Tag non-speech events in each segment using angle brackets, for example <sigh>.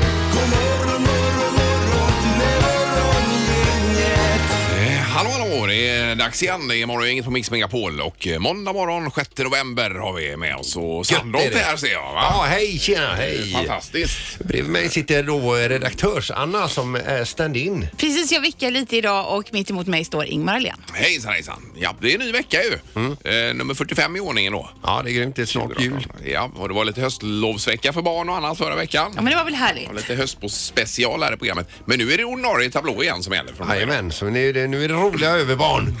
Eh, Det är dags igen. Det är Morgongänget på Mix Megapol och eh, måndag morgon 6 november har vi med oss. Och Sandholt är är det. här ser jag. Va? Ja, hej, tjena, hej. Fantastiskt. Bredvid mig sitter då redaktörs-Anna som är stand-in. Precis, jag vickar lite idag och mitt emot mig står Ingmar Ahlén. Hejsan hejsan. Ja, det är en ny vecka ju. Eh, nummer 45 i ordningen då. Mm. Ja, det är grymt. Det är snart jul. Ja, och det var lite höstlovsvecka för barn och annat förra veckan. Ja, men det var väl härligt? Och lite höstspecial här i programmet. Men nu är det ordinarie tablå igen som gäller. Från och med. Jajamän, så nu är det, nu är det roliga överbarn.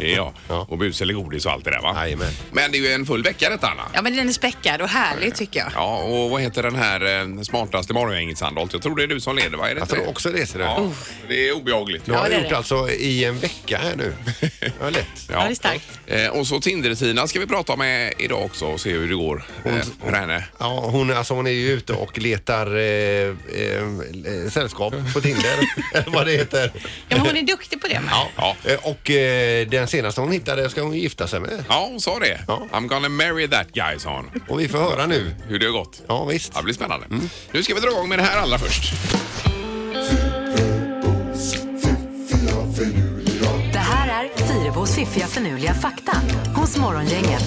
ja. Ja. Och bus eller godis och allt det där va? Jajamän. Men det är ju en full vecka detta Anna. Ja, men den är späckad och härlig tycker jag. Ja, och vad heter den här eh, smartaste morgongänget Sandholt? Jag tror det är du som leder, va? Är det Jag inte tror det? också det. Ser du. Ja, det är obehagligt. Nu har Ja, det jag är gjort det. alltså i en vecka här nu. Ja, <laughs> lätt. Ja, det är starkt. Eh, Och så Tinder-Tina ska vi prata med idag också och se hur det går eh, för henne. Ja, hon, alltså hon är ju ute och letar eh, eh, eh, sällskap på Tinder, <laughs> eller vad det heter. Ja, men hon är duktig på det med. Ja. Eh, Och eh, den senaste hon hittade ska hon gifta sig med. Ja, hon sa det. Ja. I'm gonna marry that guy, sa hon. Och vi får höra nu. Hur det har gått. Ja, visst. Det blir spännande. Nu ska vi dra igång med det här allra först. Det här är Fyrabos fiffiga förnuliga fakta hos Morgongänget.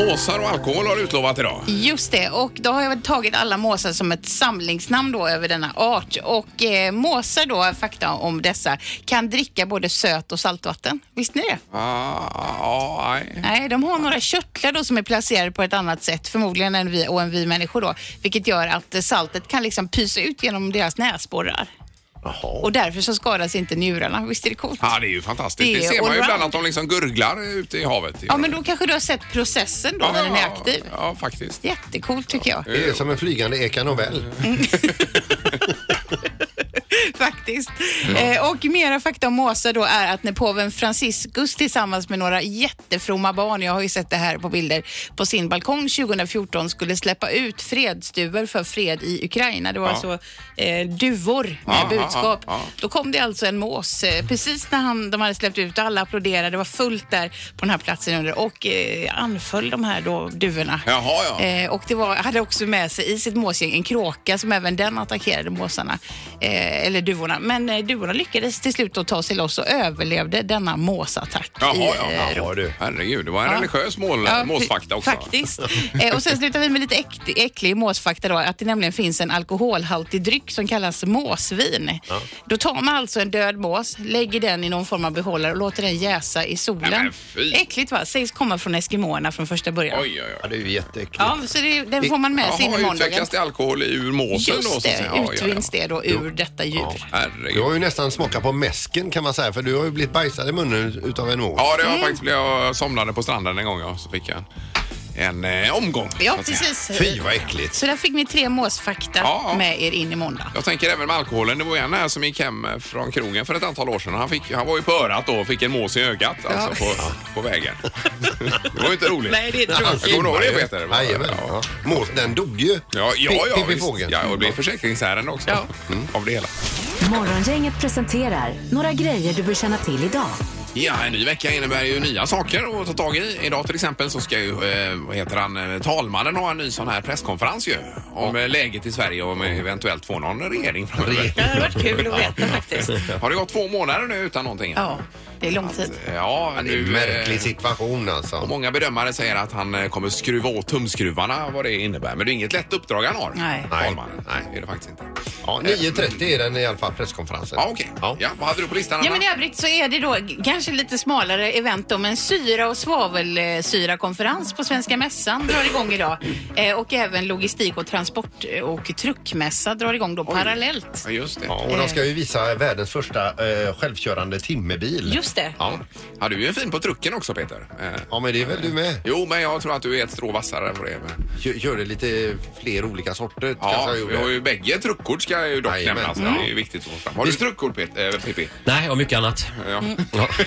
Och måsar och alkohol har du utlovat idag. Just det, och då har jag väl tagit alla måsar som ett samlingsnamn då över denna art. Och eh, måsar då, fakta om dessa, kan dricka både söt och saltvatten. Visste ni det? Ah, ah, nej. Nej, de har några körtlar då som är placerade på ett annat sätt, förmodligen än vi och än vi människor då, vilket gör att eh, saltet kan liksom pysa ut genom deras näsborrar. Och därför så skadas inte njurarna. Visst är det coolt? Ja, det är ju fantastiskt. Det Det, är ser man ju allround. ibland att de liksom gurglar ute i havet. Ja, men då kanske du har sett processen då när den är aktiv. Ja, ja faktiskt. Jättecoolt tycker jag. Det är som en flygande ekanovell. Faktiskt. Eh, och mera fakta om måsar då är att när påven Franciscus tillsammans med några jättefromma barn, jag har ju sett det här på bilder, på sin balkong 2014 skulle släppa ut fredsduvor för fred i Ukraina. Det var Ja. alltså eh, duvor med Ja, ja, budskap. ja, ja. Då kom det alltså en mås eh, precis när han, de hade släppt ut och alla applåderade. Det var fullt där på den här platsen under och eh, anföll de här då duvorna. Jaha, ja. Eh, och det var, hade också med sig i sitt måsgäng en kråka som även den attackerade måsarna, eh, eller duvorna. Men eh, duvorna lyckades till slut att ta sig loss och överlevde denna måsattack. Jaha, i, ja. eh, Jaha, Rom. Ja, du. Herregud, det var en Ja. religiös mål, Ja, målsfakta också. Faktiskt. Eh, och sen slutar vi med lite äkt, äcklig måsfakta då, att det nämligen finns en alkoholhaltig dryck som kallas måsvin. Då tar man alltså en död mås, lägger den i någon form av behållare och låter den jäsa i Nej, solen. men fy. Äckligt va? Sägs komma från eskimåerna från första början. Oj, oj, Ja, oj. det är ju jätteäckligt. Ja, så det, den får man med sig in i Jaha, måndagen. utvecklas det alkohol ur måsen då? så Just att säga? det, Ja, ja, ja. utvinns det då ur detta djur. Du Herregud. har ju nästan smakat på mäsken kan man säga för du har ju blivit bajsad i munnen utav en mås. Ja, det har Mm. faktiskt blivit. Jag somnade på stranden en gång ja, så fick jag en, en eh, omgång. Ja, så att säga. precis. Fy vad äckligt. Så där fick ni tre måsfakta Ja, ja. med er in i måndag. Jag tänker även med alkoholen. Det var en här som gick hem eh, från krogen för ett antal år sedan. Han, fick, han var ju på örat då och fick en mås i ögat alltså, på, på vägen. det var ju inte roligt. Nej, det är Jag tråkigt. kommer ihåg det Peter. Det var- Jajamän. ja. Mås, den dog ju. Ja, ja, ja, Pippi visst. fågeln. ja och det blev försäkringsärende också. Ja. Mm. Av det hela. Morgongänget presenterar några grejer du bör känna till idag. Ja, en ny vecka innebär ju nya saker att ta tag i. Idag till exempel så ska ju, eh, vad heter han, eh, talmannen ha en ny sån här presskonferens ju. Om eh, läget i Sverige och om eventuellt få någon regering framöver. Det hade varit kul att veta faktiskt. Har det gått två månader nu utan någonting? eh, Ja, typ. det är lång tid. Ja, Det är nu, en märklig eh, situation alltså. Och många bedömare säger att han eh, kommer skruva åt tumskruvarna, vad det innebär. Men det är inget lätt uppdrag han har, Nej. talmannen. Nej, det är det faktiskt inte. Ja, 9.30 är den i alla fall presskonferensen. Ja, okej. Ja. Ja, vad hade du på listan, Ja, Anna? men i övrigt så är det då g- kanske lite smalare event då, men syra och svavelsyrakonferens på Svenska Mässan drar igång idag. Eh, och även logistik och transport och truckmässa drar igång då parallellt. Ja, just det. Ja, och de ska ju visa världens första eh, självkörande timmebil. Just det. Ja. Ja, du är ju fin på trucken också, Peter. Eh, ja, men det är väl du med? Jo, men jag tror att du är ett strå vassare på det. Men... Kör, körde lite fler olika sorter kanske Ja, jag vi har gjorde. ju bägge truckkort ska ju dock Jajamän. nämnas. Det är ju viktigt att få fram. Har du truckkort, Peter? Eh, Pippi? Nej, och mycket annat. Ja.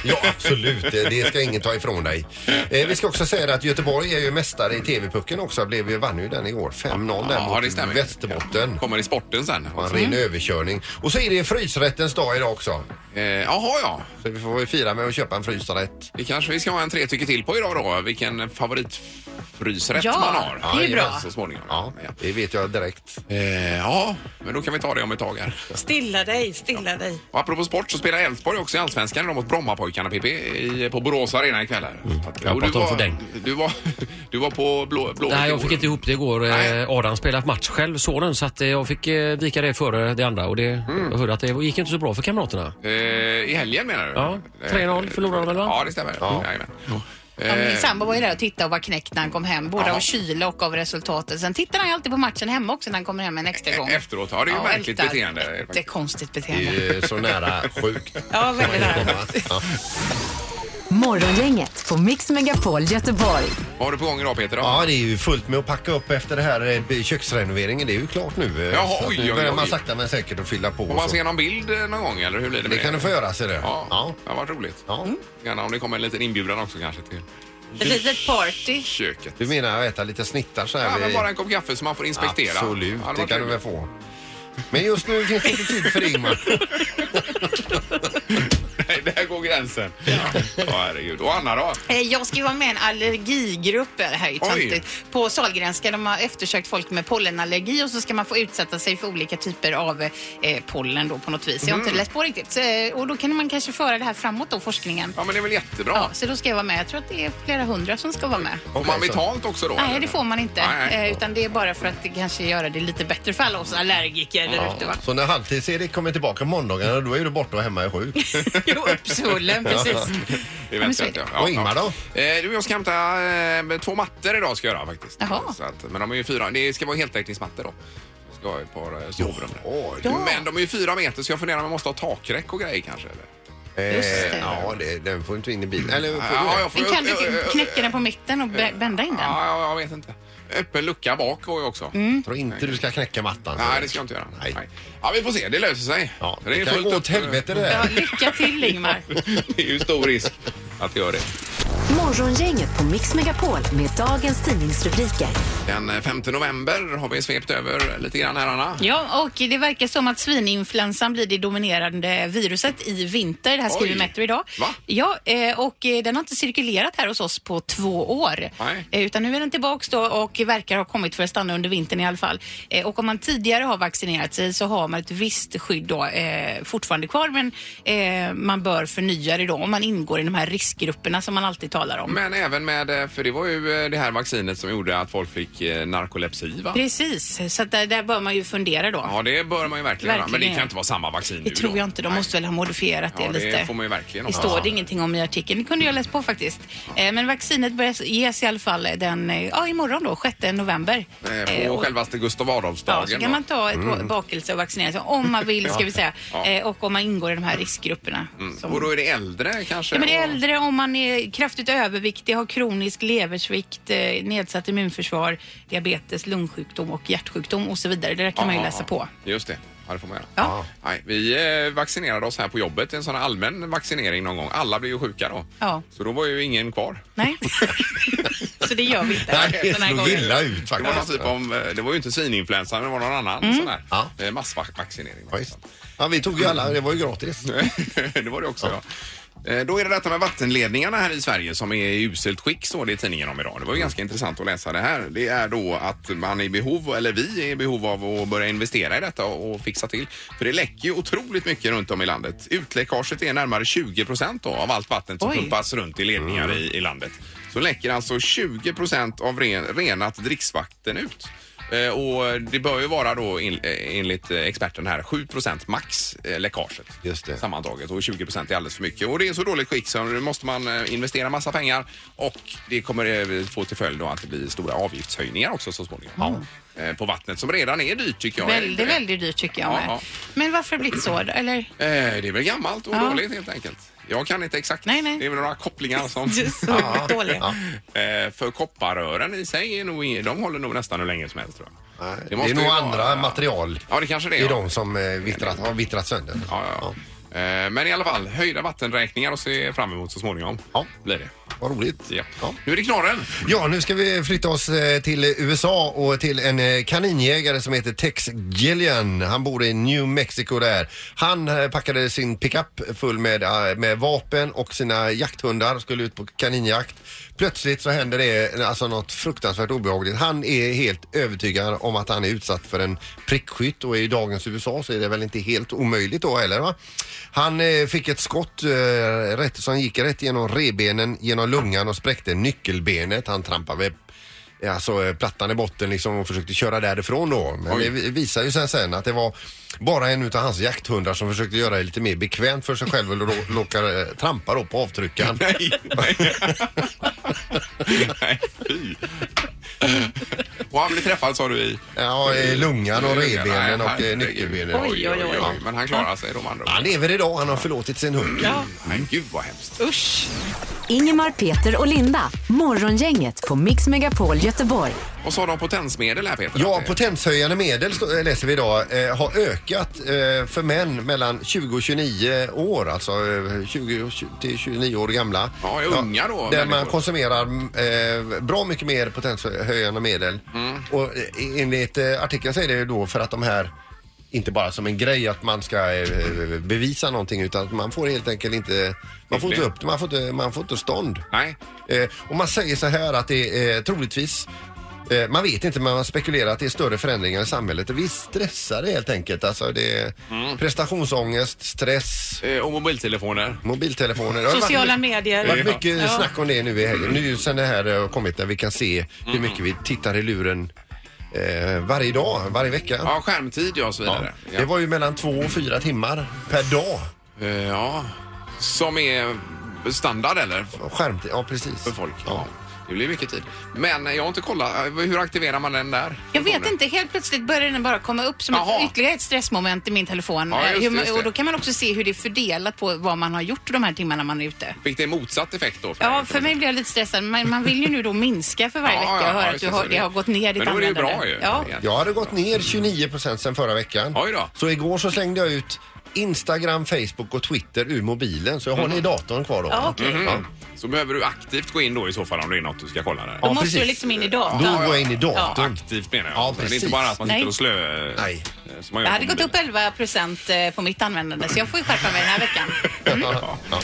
Ja, absolut. Det- Det ska ingen ta ifrån dig. Eh, vi ska också säga det att Göteborg är ju mästare i TV-pucken också. Blev ju, vann ju den igår. 5-0 där ja, det stämmer. Mm. mot Västerbotten. Kommer i sporten sen. Ja, En ren överkörning. Och så är det frysrättens dag idag också. Eh, Jaha, ja. Så vi får väl fira med att köpa en frysrätt. Det kanske vi ska ha en tre tycker till på idag då. Vilken favorit djupfrysrätt Ja, man har. det är ju bra. Så småningom. Ja, Ja. det vet jag direkt. Eh, ja, men då kan vi ta det om ett tag här. Stilla dig, stilla dig. Och apropå sport så spelar Elfsborg också i Allsvenskan idag mot Brommapojkarna PP i, på Borås Arena ikväll. här. Mm. Jag Och du pratar om för var, däng. du, var, du var på blå, blå Nej, jag igår. fick inte ihop det igår. Eh, Nej. Adam spelat match själv, sonen, så att eh, jag fick eh, vika det före det andra. Och det, Jag hörde att det gick inte så bra för kamraterna. Eh, I helgen menar du? Eh, Ja, 3-0 förlorade de, va? Ja, det stämmer. Jajamän. Ja, Eh, min sambo var ju där och tittade och var knäckt när han kom hem, både Jaha. av kyla och av resultatet. Sen tittar han ju alltid på matchen hemma också när han kommer hem en extra E- gång. efteråt. Ja, det är ju märkligt ältar. beteende. Jättekonstigt Det beteende. är ju så nära sjukt. Ja, väldigt nära. Ja. Morgongänget på Mix Megapol Göteborg. Vad har du på gång idag Peter? Då? Ja, det är ju fullt med att packa upp efter det här eh, köksrenoveringen. Det är ju klart nu. eh, Jaha, så att oj, nu oj, börjar oj. man sakta men säkert att fylla på. Får och man så. se någon bild eh, någon gång eller hur blir det? Det med kan du få göra, ser du. Ja, Ja. det har varit roligt. Ja. Mm. Gärna om det kommer en liten inbjudan också kanske till Ett litet party. köket. Du menar att äta lite snittar så här? Ja, men vid- bara en kopp kaffe som man får inspektera. Hade Absolut, det varit kan du trevligt. väl få. Men just nu finns det inte tid för det, Ingmar. <laughs> Nej, där går gränsen. Ja. herregud. Och Anna då? Eh, Jag ska ju vara med i en allergigrupp. Det här är ju Oj. töntigt. På Sahlgrenska de har eftersökt folk med pollenallergi och så ska man få utsätta sig för olika typer av eh, pollen då på något vis. Jag har Mm. inte läst på riktigt. Så, eh, och då kan man kanske föra det här framåt då, forskningen. Ja, men det är väl jättebra. Ja, så då ska jag vara med. Jag tror att det är flera hundra som ska vara med. Får man betalt också då? Nej, eller? det får man inte. Nej, nej. Eh, Utan det är bara för att det kanske göra det lite bättre för alla oss allergiker där <laughs> ute. va? Så när halvtids-Erik kommer tillbaka på måndagarna då är du borta och hemma <laughs> är sjuk. Jo, uppsvullen, precis. Eventuellt, Ja, men så är det. Och Ingmar då? Eh, du, jag ska hämta eh, två mattor idag ska jag göra faktiskt. Jaha. Så att, men de är ju fyra. Det ska vara heltäckningsmattor då. Jag ska ha ett par eh, sovrum där. Åh, Ja. Men de är ju fyra meter så jag funderar om jag måste ha takräck och grejer kanske. Eller? eh, Just det. Ja, det, den får du inte in i bilen. Eller får du Ja, det? jag får- Men kan du eh, eh, inte knäcka den på mitten och bä- bända in den? Ja, ja, jag vet inte. Öppen lucka bak går ju också. Mm. Jag tror inte du ska knäcka mattan. Nej, det ska jag inte göra. Nej. Ja, vi får se. Det löser sig. Ja, det, kan gå upp- eh, åt helvete det Ja, <laughs> där. lycka till Ingmar. det är ju stor risk att det gör det. Morgongänget på Mix Megapol med dagens tidningsrubriker. Den eh, 5 november har vi svept över lite grann här, Anna. Ja, och det verkar som att svininfluensan blir det dominerande viruset i vinter. Det här skriver Oj. Metro idag. Va? Ja, eh, och eh, den har inte cirkulerat här hos oss på två år. Nej. Eh, Utan nu är den tillbaks då och verkar ha kommit för att stanna under vintern i alla fall. Eh, Och om man tidigare har vaccinerat sig så har man ett visst skydd då eh, fortfarande kvar men eh, man bör förnya det då om man ingår i de här riskgrupperna som man alltid talar om. Men även med, eh, för det var ju eh, det här vaccinet som gjorde att folk fick eh, narkolepsi va? Precis, så att där, där bör man ju fundera då. Ja, det bör man ju verkligen, göra. Men det Verkligen. kan inte vara samma vaccin Det nu tror då. jag inte. De Nej. måste väl ha modifierat det Ja, det lite. får man ju verkligen det hoppas. står det ingenting om i artikeln. Det kunde jag läst på faktiskt. Eh, Men vaccinet börjar ges i alla fall den, eh, ja, imorgon då, 6 november. Eh, Eh, På och- självaste Gustav Ja, Adolfsdagen. så kan man ta ett bakelse och vaccinera sig om man vill ska vi säga. Mm. Ja. Eh, Och om man ingår i de här riskgrupperna. då. som- Och då är det äldre kanske? Ja, men det är och- äldre om man är kraftigt överviktig, har kronisk leversvikt, eh, nedsatt immunförsvar, diabetes, lungsjukdom och hjärtsjukdom och så vidare. Det där kan man ju Ja, läsa ja, på. ja. Just det. Ja, det får man göra. Ja. Nej, vi eh, vaccinerade oss här på jobbet, en sån här allmän vaccinering någon gång. Alla blev ju sjuka då. Ja. Så då var ju ingen kvar. Nej. <laughs> så det gör vi inte. Nej, det den här slog gången. illa ut Det var, någon faktiskt. typ om, eh, det var ju inte svininfluensan, det var någon annan sån här Ja. eh, massvaccinering. Ja, visst. Ja, vi tog ju alla, det var ju gratis. <laughs> det var det också, ja. Eh, Då är det detta med vattenledningarna här i Sverige som är i uselt skick, står det i tidningen om idag. Det var ju ganska intressant att läsa det här. Det är då att man är i behov, eller vi är i behov av att börja investera i detta och och fixa till. För det läcker ju otroligt mycket runt om i landet. Utläckaget är närmare 20 procent av allt vatten som Oj. pumpas runt i ledningar i, i landet. Så läcker alltså 20 procent av ren, renat dricksvatten ut. Eh, Och det bör ju vara då en- eh, enligt eh, experten här 7 procent max eh, läckaget Just det. sammantaget och 20 procent är alldeles för mycket. Och det är så dåligt skick så nu måste man eh, investera massa pengar och det kommer eh, få till följd då att det blir stora avgiftshöjningar också så småningom. Eh, På vattnet som redan är dyrt tycker jag. Väldigt, Eh, väldigt dyrt tycker jag Ja, med. ja. Men varför har det blivit så? då? Eller? eh, Det är väl gammalt och Ja. dåligt helt enkelt. Jag kan inte exakt. Nej, nej. Det är väl några kopplingar <laughs> som... Du är så dålig. Eh, För kopparrören i sig är nog, ing- de håller nog nästan hur länge som helst tror jag. Nej, det, måste är ju nog vara- andra material Ja, det kanske det är. i ja. de som eh, vittrat, har vittrat sönder. Ja, ja. Eh, Men i alla fall, höjda vattenräkningar och se fram emot så småningom. Ja. Blir det. Vad roligt. Ja. Ja. Nu är det knorren. Ja, nu ska vi flytta oss eh, till USA och till en eh, kaninjägare som heter Tex Gillian. Han bor i New Mexico där. Han eh, packade sin pickup full med, eh, med vapen och sina jakthundar, skulle ut på kaninjakt. Plötsligt så händer det eh, alltså något fruktansvärt obehagligt. Han är helt övertygad om att han är utsatt för en prickskytt och i dagens USA så är det väl inte helt omöjligt då heller va? Han eh, fick ett skott eh, rätt, som gick rätt genom rebenen, genom lungan och spräckte nyckelbenet. Han trampade eh, alltså, eh, plattan i botten liksom och försökte köra därifrån då. Men Oj. det vi- visar ju sen, sen att det var bara en utav hans jakthundar som försökte göra det lite mer bekvämt för sig själv och lo- <laughs> lockar, eh, trampa då på <laughs> avtryckaren. Nej, nej. nej, fy. Och han blev träffad sa du i? Ja, eh, lungan och Nej, rebenen och eh, herregud. nyckelbenet. Oj, oj, oj. Ja, Men han klarar sig de andra. Han lever idag, han har förlåtit sin hund. Ja. Men gud vad hemskt. Usch. Ingemar, Peter och Linda. Morgongänget på Mix Megapol Göteborg. Och så har de potensmedel här Peter. Ja, Att det- potenshöjande medel stå- eh, läser vi idag eh, har ökat eh, för män mellan 20 och 29 år, alltså eh, 20 och tju- till 29 år gamla. Ja, är unga då, Där man människor. konsumerar mm, eh, bra mycket mer potenshöjande medel. Mm. Och eh, enligt eh, artikeln så är det ju då för att de här inte bara som en grej att man ska eh, bevisa någonting utan att man får helt enkelt inte, man får inte upp det, man får inte, man får inte stånd. Nej. Eh, och man säger så här att det är eh, troligtvis eh, man vet inte, men man spekulerar att det är större förändringar i samhället. Vi stressar helt enkelt. Alltså det är prestationsångest, stress, Eh, Och mobiltelefoner. mobiltelefoner. Det har varit- Sociala Det har medier. varit mycket Ja. snack om det nu i helgen. Nu sen det här eh, har kommit där vi kan se hur mycket vi tittar i luren eh, varje dag, varje vecka. Ja, skärmtid ja, och så vidare. Ja. Det var ju mellan två och fyra timmar per dag. Eh, ja. Som är standard eller? Skärmtid, ja precis. För folk. Ja. Ja. Det blir mycket tid. Men jag har inte kollat. eh, Hur aktiverar man den där? Jag vet inte, helt plötsligt började den bara komma upp som Jaha. ett, ytterligare ett stressmoment i min telefon. Ja, just det, Hur man- just det. Och då kan man också se hur det är fördelat på vad man har gjort de här timmarna man är ute. Fick det motsatt effekt då? dig, Ja, kan för man mig blir jag lite stressad. Man, man vill ju nu då minska för varje Ja, vecka ja, och höra ja, att just du det, har, så det har gått ner ditt Men då är det ju bra ju. användande. Ja. egentligen. Jag hade gått ner 29 sen förra veckan. Oj då. Så igår så slängde jag ut Instagram, Facebook och Twitter ur mobilen. Så jag Mhm. har den i datorn kvar då. Ja, okej. Ja. Så behöver du aktivt gå in då i så fall om det är något du ska kolla där. Då Ja, måste precis. du liksom in i datorn. Då går jag in i datorn. Aktivt menar jag. Ja, Men det är inte precis. bara att man sitter Nej. och slö... eh, Nej. eh, Som man Jag gör hade på gått upp mobilen. 11 procent eh, på mitt användande så jag får ju skärpa mig den här veckan. Ja. Ja.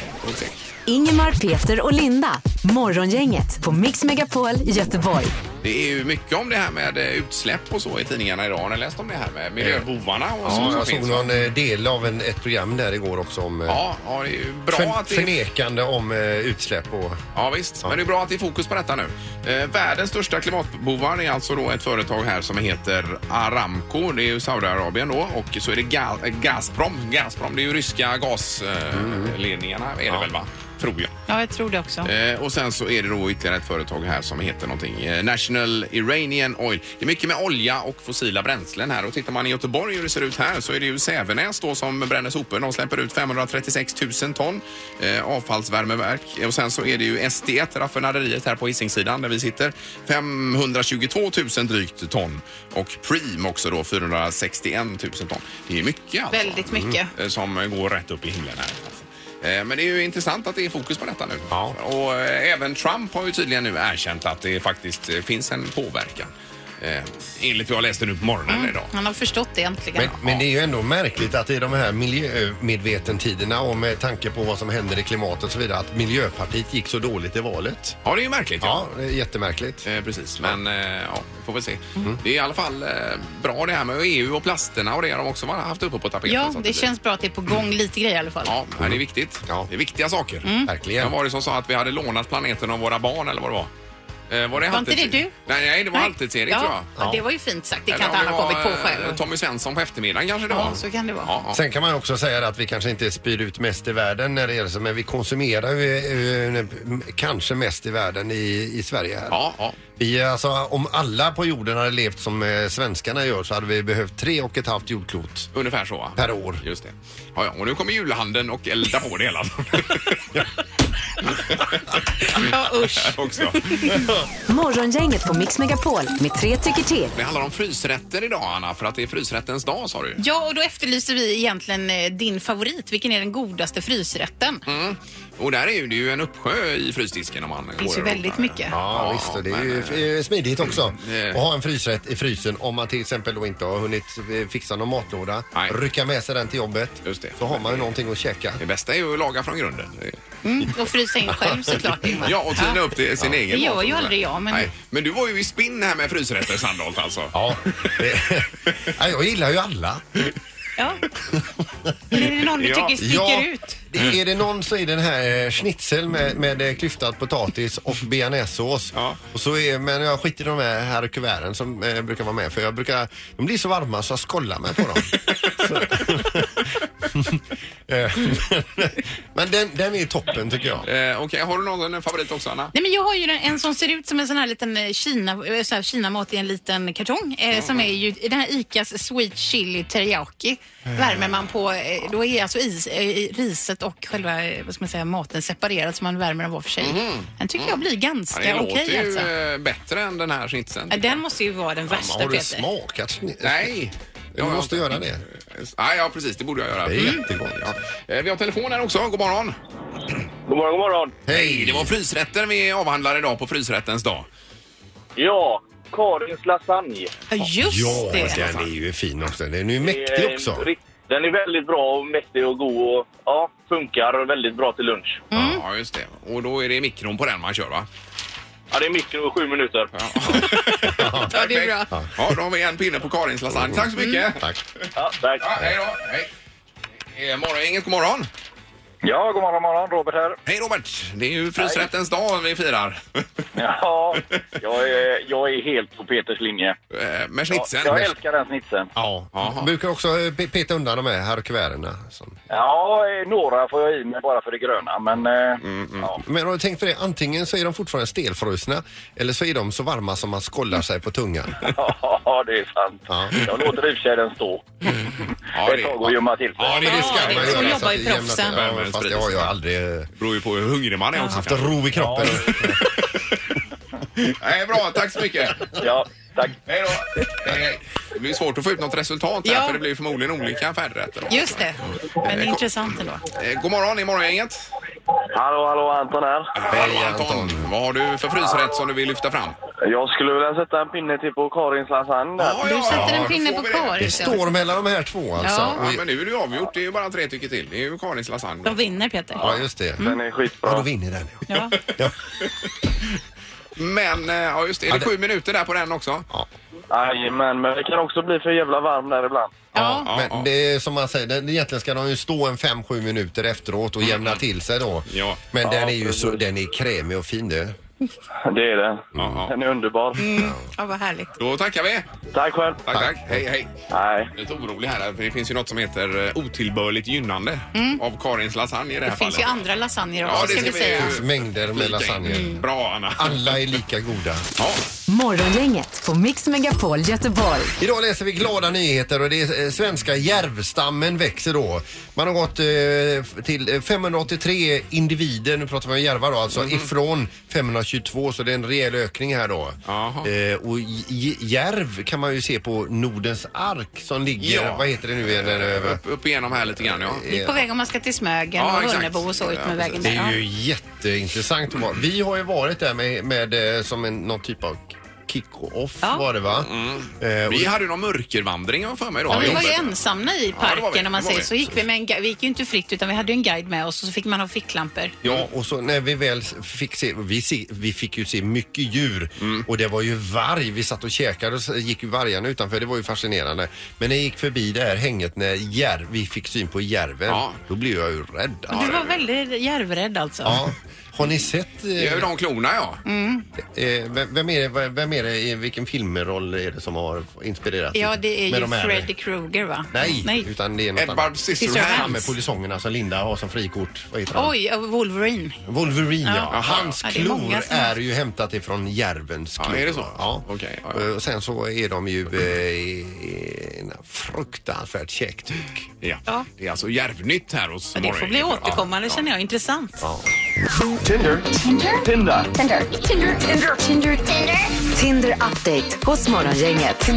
Ingemar, Peter och Linda. Morgongänget på Mix Megapol Göteborg. Det är ju mycket om det här med eh, utsläpp och så i tidningarna idag. Har ni läst om det här med miljöbovarna och så? Ja, som jag såg finns? någon eh, del av en, ett program där igår också om eh, Ja, ja, det är ju bra förn- att det är... förnekande om eh, utsläpp och Ja, visst. Men det är bra att det är fokus på detta nu. Eh, världens största klimatbovar är alltså då ett företag här som heter Aramco. Det är ju Saudiarabien då. Och så är det Ga eh, Gazprom. Gazprom, det är ju ryska gasledningarna är det väl va? Tror jag. Ja, jag tror det också. Eh, och sen så är det då ytterligare ett företag här som heter någonting eh, National Iranian Oil. Det är mycket med olja och fossila bränslen här och tittar man i Göteborg hur det ser ut här så är det ju Sävenäs då som bränner sopor. De släpper ut 536 000 ton eh, avfallsvärmeverk Eh, och sen så är det ju SD1 raffinaderiet här på Hisingssidan där vi sitter 522 000 drygt ton och Preem också då 461 000 ton. Det är mycket alltså Väldigt mycket. eh, som går rätt upp i himlen här. Eh, Men det är ju intressant att det är fokus på detta nu. Och eh, även Trump har ju tydligen nu erkänt att det faktiskt eh, finns en påverkan. Eh, Enligt vad jag läste nu på morgonen idag. Han har förstått det äntligen. Men, men det är ju ändå märkligt att i de här miljömedvetentiderna och med tanke på vad som händer i klimatet och så vidare att Miljöpartiet gick så dåligt i valet. Ja, det är ju märkligt. Ja. Ja, det är jättemärkligt. Eh, Precis, men eh, ja, vi får väl se. Det är i alla fall eh, bra det här med EU och plasterna och det har de också haft uppe på tapeten. Ja, så att det blir- känns bra att det är på gång lite grejer i alla fall. Mm. Ja, nej, det är viktigt. Ja. Det är viktiga saker. Verkligen. Vem var det som sa att vi hade lånat planeten av våra barn eller vad det var? Eh, var det Var inte det Halvtids- du? Nej, nej det var Halvtids-Erik ja. tror jag. Ja, det var ju fint sagt. Det kan Eller inte om han ha kommit var, på eh, själv. Tommy Svensson på eftermiddagen kanske det Ja, var. så kan det vara. Ja, ja. Sen kan man ju också säga att vi kanske inte spyr ut mest i världen när det gäller så, men vi konsumerar ju eh, eh, kanske mest i världen i, i Sverige här. Ja, ja. Vi, eh, alltså, om alla på jorden hade levt som eh, svenskarna gör så hade vi behövt tre och ett halvt jordklot Ungefär så. va? per år. Just det. Ja, ja. Och nu kommer julhandeln och elda på det hela. Ja, usch. <laughs> <laughs> också. Morgongänget på Mix Megapol med tre tycker till. Det handlar om frysrätter idag, Anna, för att det är frysrättens dag sa du. Ja, och då efterlyser vi egentligen eh, din favorit. Vilken är den godaste frysrätten? Och där är ju- det är ju en uppsjö i frysdisken om man går Det finns ju och rotar. väldigt mycket. Ja, visst. Och det är ju eh, smidigt också det- att ha en frysrätt i frysen om man till exempel då inte har hunnit eh, fixa någon matlåda. Nej. Rycka med sig den till jobbet. Just det. Så har man ju någonting att käka. Det bästa är ju att laga från grunden. Mm, och frysa in själv såklart, Ingmar. Ja, och tina upp det, sin egen Det gör mat. ju aldrig jag, men- Nej. men du var ju i spinn här med frysrätter Sandholt alltså. Ja, det, <laughs> Nej, jag gillar ju alla. Ja. Men är det någon du Ja. tycker sticker ja, ut? det- Är det någon så är det den här eh, schnitzel med, med eh, klyftad potatis och bearnaisesås. Ja. Och så är, men jag skiter i de här, här kuverten som eh, brukar vara med för jag brukar, de blir så varma så jag skollar mig på dem. så. <laughs> Eh, men den, den är toppen tycker jag. Eh, Okej, har du någon favorit också Anna? Nej, men jag har ju en, en som ser ut som en sån här liten eh, Kina, eh, så här Kinamat i en liten kartong. Eh, Som är ju den här ICAs Sweet Chili Teriyaki. Värmer man på, eh, då är alltså is, eh, i riset och själva eh, vad ska man säga, maten separerat så man värmer dem var för sig. Den tycker jag blir Mm. Ja, ganska det låter okej ju alltså. eh, bättre än den här schnitzeln. Ja, Den måste ju vara den värsta Har du Peter. smakat schni- Nej. Du har måste inte. göra det. Nej, ja precis. Det borde jag göra. Mm. Det är jättegott. Ja. Eh, Vi har telefon här också. God morgon. God morgon, god morgon. Hej, det var frysrätter vi avhandlar idag på frysrättens dag. Ja, Karins lasagne. Ja, just Ja, det. den är ju fin också. Den är ju Det mäktig är också. rikt- Den är väldigt bra och mäktig och god och ja, funkar väldigt bra till lunch. Mm. Ja, just det. Och då är det mikron på den man kör va? Ja, det är mikro och sju minuter. Ja, Ja, det är <laughs> bra. Perfekt. Ja, då har vi en pinne på Karins lasagne. Tack så mycket. Tack. Ja, tack. Ja, hej då. Hej. Eh, Morgon, inget god morgon. Ja, god morgon, morgon. Robert här. Hej Robert! Det är ju frysrättens dag vi firar. Ja, <laughs> jag är, jag är helt på Peters linje. Eh, Med Ja, schnitzeln. jag älskar den snitsen. Ja, Jaha. brukar också eh, pe- peta undan de här, här kuverterna. som- Ja, eh, några får jag i mig bara för det gröna, men eh, Ja. <laughs> Men har du tänkt på det? Antingen så är de fortfarande stelfrusna eller så är de så varma som man skollar sig på <laughs> tungan. ja, det är sant. Ja. Jag låter i och för sig den stå Ja, ett tag och gömma till sig. ja, det, det Ja, ska det man är så göra. jobbar ju att det jämnar proffsen. till. alltså Ja, fast det har jag aldrig eh, Det beror ju på hur hungrig man är också. haft ro i kroppen. Nej, Eh, bra, tack så mycket. Ja, tack. Hej då. Hej, hej. Det blir svårt att få ut något resultat här Ja. för det blir förmodligen olika färdrätter. då. Just det. Men det är intressant ändå. Eh, God morgon, i morgongänget. Hallå, hallå, Anton här. Hej Anton. Vad har du för frysrätt som du vill lyfta fram? Jag skulle vilja sätta en pinne till på Karins lasagne. där. Du sätter då en pinne får på vi det. <laughs> Det Karin. så. står mellan de här två alltså. Ja. Ja, Och- men nu är det ju avgjort. Det är ju bara tre tycker till. Det är ju Karins lasagne. De vinner Peter. Ja, just det. Mm. Den är skitbra. Ja, då vinner den. ja. Ja. Ja. Men, eh, ja just det. Är det sju minuter där på den också? Jajamän, men det kan också bli för jävla varm där ibland. Ja. Ja, ja. Men det är som man säger, den, egentligen ska de ju stå en 5-7 minuter efteråt och jämna till sig då. Mm. Ja. Men den är ju så, den är krämig och fin det. Det är det. Ja, ja. Den är underbar. Mm. ja, <laughs> vad härligt. Då tackar vi. Tack själv. Tack, tack. Hej, hej. Nej. lite orolig här, för det finns ju något som heter eh, otillbörligt gynnande av Karins lasagne i det här Mm. Det finns ju fallet. andra lasagner också Ja, det ska ska vi vi säga. ju- Mängder med lasagne. Mm. Bra, Anna. Alla är lika goda. Ja. Morgongänget på Mix Megapol Göteborg. Idag läser vi glada nyheter och det är eh, svenska järvstammen växer då. Man har gått eh, till eh, 583 individer, nu pratar vi om järvar då, alltså Mhm. ifrån 522 så det är en rejäl ökning här då. Jaha. Eh, och j- j- järv kan man ju se på Nordens ark som ligger, Ja. vad heter det nu igen? där över? Upp, upp igenom här lite grann, ja. Vi är på väg om man ska till Smögen Ja, och exakt. Hunnebo och så ut Ja, med vägen Det där. är ju Ja. jätteintressant. att vara- Vi har ju varit där med, med eh, som en, någon typ av kick-off Ja. var det va? Eh, och- Mm. Vi hade ju någon mörkervandring har jag för mig då. Ja, vi var ju Jobbet. ensamma i var vi. parken om man Det var säger vi. så. Gick vi, med en, gui- vi gick ju inte fritt utan vi hade ju en guide med oss och så fick man ha ficklampor. Ja, och så när vi väl fick se, vi, se, vi fick ju se mycket djur Mm. och det var ju varg. Vi satt och käkade och så gick ju vargarna utanför. Det var ju fascinerande. Men när jag gick förbi det här hänget när järv, vi fick syn på järven, Ja. då blev jag ju rädd. Ja. Du var väldigt järvrädd alltså. Har ni sett, Det är ju eh, de klorna, ja. Mm. eh, vem- vem är det, vem- vem är det, i vilken filmroll är det som har inspirerat? Ja, det är med ju de här- Freddy Krueger va? Nej, utan det är något Edward annat. Han med Scissorhands. polisongerna som Linda har som frikort. Vad heter han? Oj, Wolverine. Wolverine, ja. Ja. Hans Ja, det är klor många är, som- ju hämtat ifrån järvens Ja, klor. är det så? Ja. Okej, ja, ja. Eh, Och sen så är de ju eh, i- i en fruktansvärt käktyg. Ja. Ja. Det är alltså järvnytt här hos Ja, det får Morgon. bli återkommande känner jag. Intressant. Tinder update hos Morgongänget.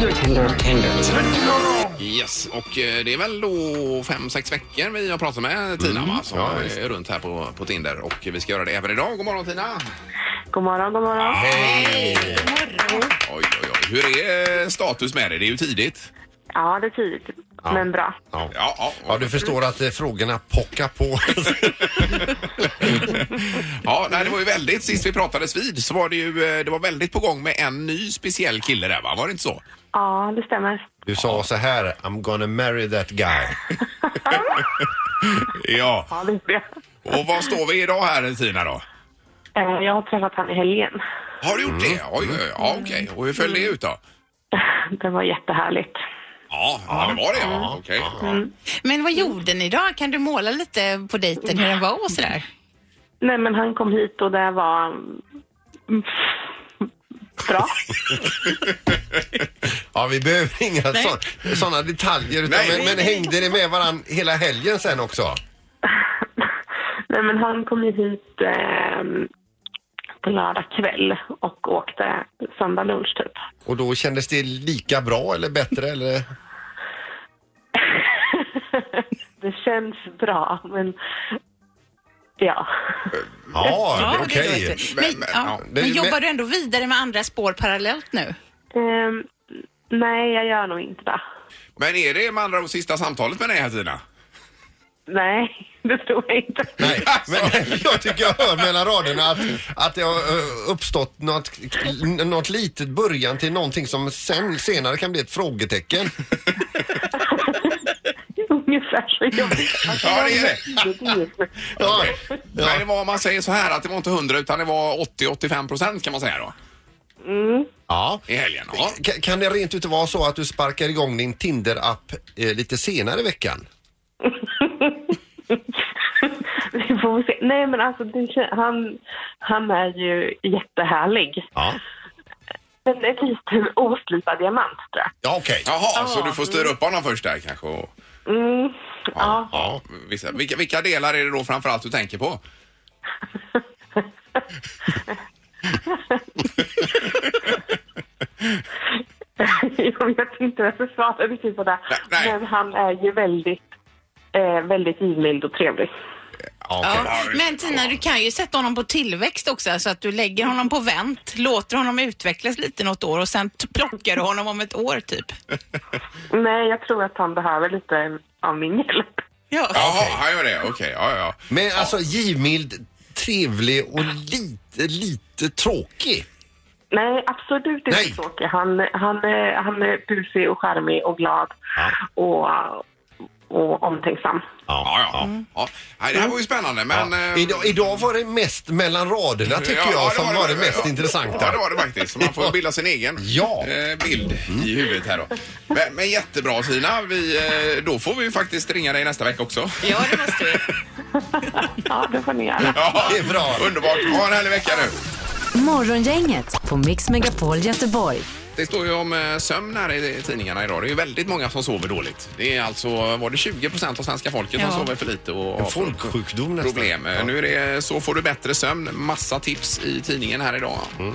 Yes, och eh, det är väl då fem, sex veckor vi har pratat med Tina va, som Mm. Ja, är visst. runt här på, på Tinder och vi ska göra det även idag. God morgon Tina! God morgon, god morgon. Hej! Oj, oj, oj. Hur är eh, status med det? Det är ju tidigt. Ja, det är tidigt, men bra. Ja. Ja, ja. Ja, du förstår att eh, frågorna pockar på. ja nej, det var ju väldigt, sist vi pratades vid så var det ju eh, det var väldigt på gång med en ny speciell kille där va? Var det inte så? Ja, det stämmer. Du sa så här, I'm gonna marry that guy. Ja. Ja, det är det. Och var står vi idag här Tina då? Eh, Jag har träffat han i helgen. <laughs> Har du gjort det? Oj, oj, oj. Ja, okej. Och hur föll det ut då? Det var jättehärligt. Ja, ja det var det ja. Okej. Men vad gjorde ni då? Kan du måla lite på dejten hur den var och sådär? Nej, men han kom hit och det var... mm, <laughs> Bra. Ja, vi behöver inga så, sådana detaljer. Utan, Nej, men, nej, men hängde ni med varann hela helgen sen också? Nej, men han kom ju hit eh, på lördag kväll och åkte söndag lunch, typ. Och då kändes det lika bra eller bättre eller? Det känns bra, men... Ja. Ja, det okej. låter- Men, Men- ja. men- men jobbar du ändå vidare med andra spår parallellt nu? Ehm, nej, jag gör nog inte det. Men är det med andra ord sista samtalet med dig här Tina? Nej, <laughs> det tror jag inte. <laughs> Nej, men Alltså, jag tycker jag hör mellan raderna att, att det har eh, uppstått något, något litet början till någonting som sen, senare kan bli ett <laughs> frågetecken. <laughs> Ungefär så jobbigt. Alltså, Ja, det är det. Ja, Men det var, om man säger så här att det var inte 100 utan det var 80-85 procent kan man säga då ja. i helgen. Ja. Ka- Kan det rent utav vara så att du sparkar igång din Tinder-app eh, lite senare i veckan? <laughs> Vi får se. Nej, men alltså, det, kän- han, han är ju jättehärlig. Ja. Men en liten oslipad diamant, tror jag. Ja, okej. Jaha, så du får styra upp honom först där kanske? Och, Mm, ja. ja, vissa, vilka, vilka delar är det då framförallt du tänker på? <laughs> Jag vet inte vad jag ska svara riktigt på det. Nej, nej. Men han är ju väldigt, eh, väldigt givmild och trevlig. Ja. Men Tina, du kan ju sätta honom på tillväxt också, så att du lägger honom på vänt, låter honom utvecklas lite något år och sen t- plockar du honom om ett år typ. Nej, jag tror att han behöver lite av min hjälp. Ja. Jaha, han gör det. Okej, ja, ja, ja. Men alltså givmild, trevlig och lite, lite tråkig. Nej, absolut inte Nej. tråkig. Han, han, är- han är busig och charmig och glad och, och omtänksam. ja, ja. ja. Nej, det här var ju spännande, men... eh, Idag, idag var det mest mellan raderna tycker ja, jag det som var det mest ja. intressanta. Ja, det var det faktiskt. Så Man får bilda sin egen <laughs> Ja. eh, bild i huvudet här då. Men, men jättebra Tina. Vi, eh, då får vi ju faktiskt ringa dig nästa vecka också. Ja, det måste vi. Ja, det får ni göra. <laughs> Ja, Det är bra. Underbart. Ha en härlig vecka nu. Morgongänget på Mix Megapol Göteborg. Det står ju om eh, sömn här i tidningarna idag. Det är ju väldigt många som sover dåligt. Det är alltså, var det 20 procent av svenska folket Ja. som sover för lite och En folksjukdom nästan. problem. Eh, Ja. Nu är det Så får du bättre sömn. Massa tips i tidningen här idag. Mm.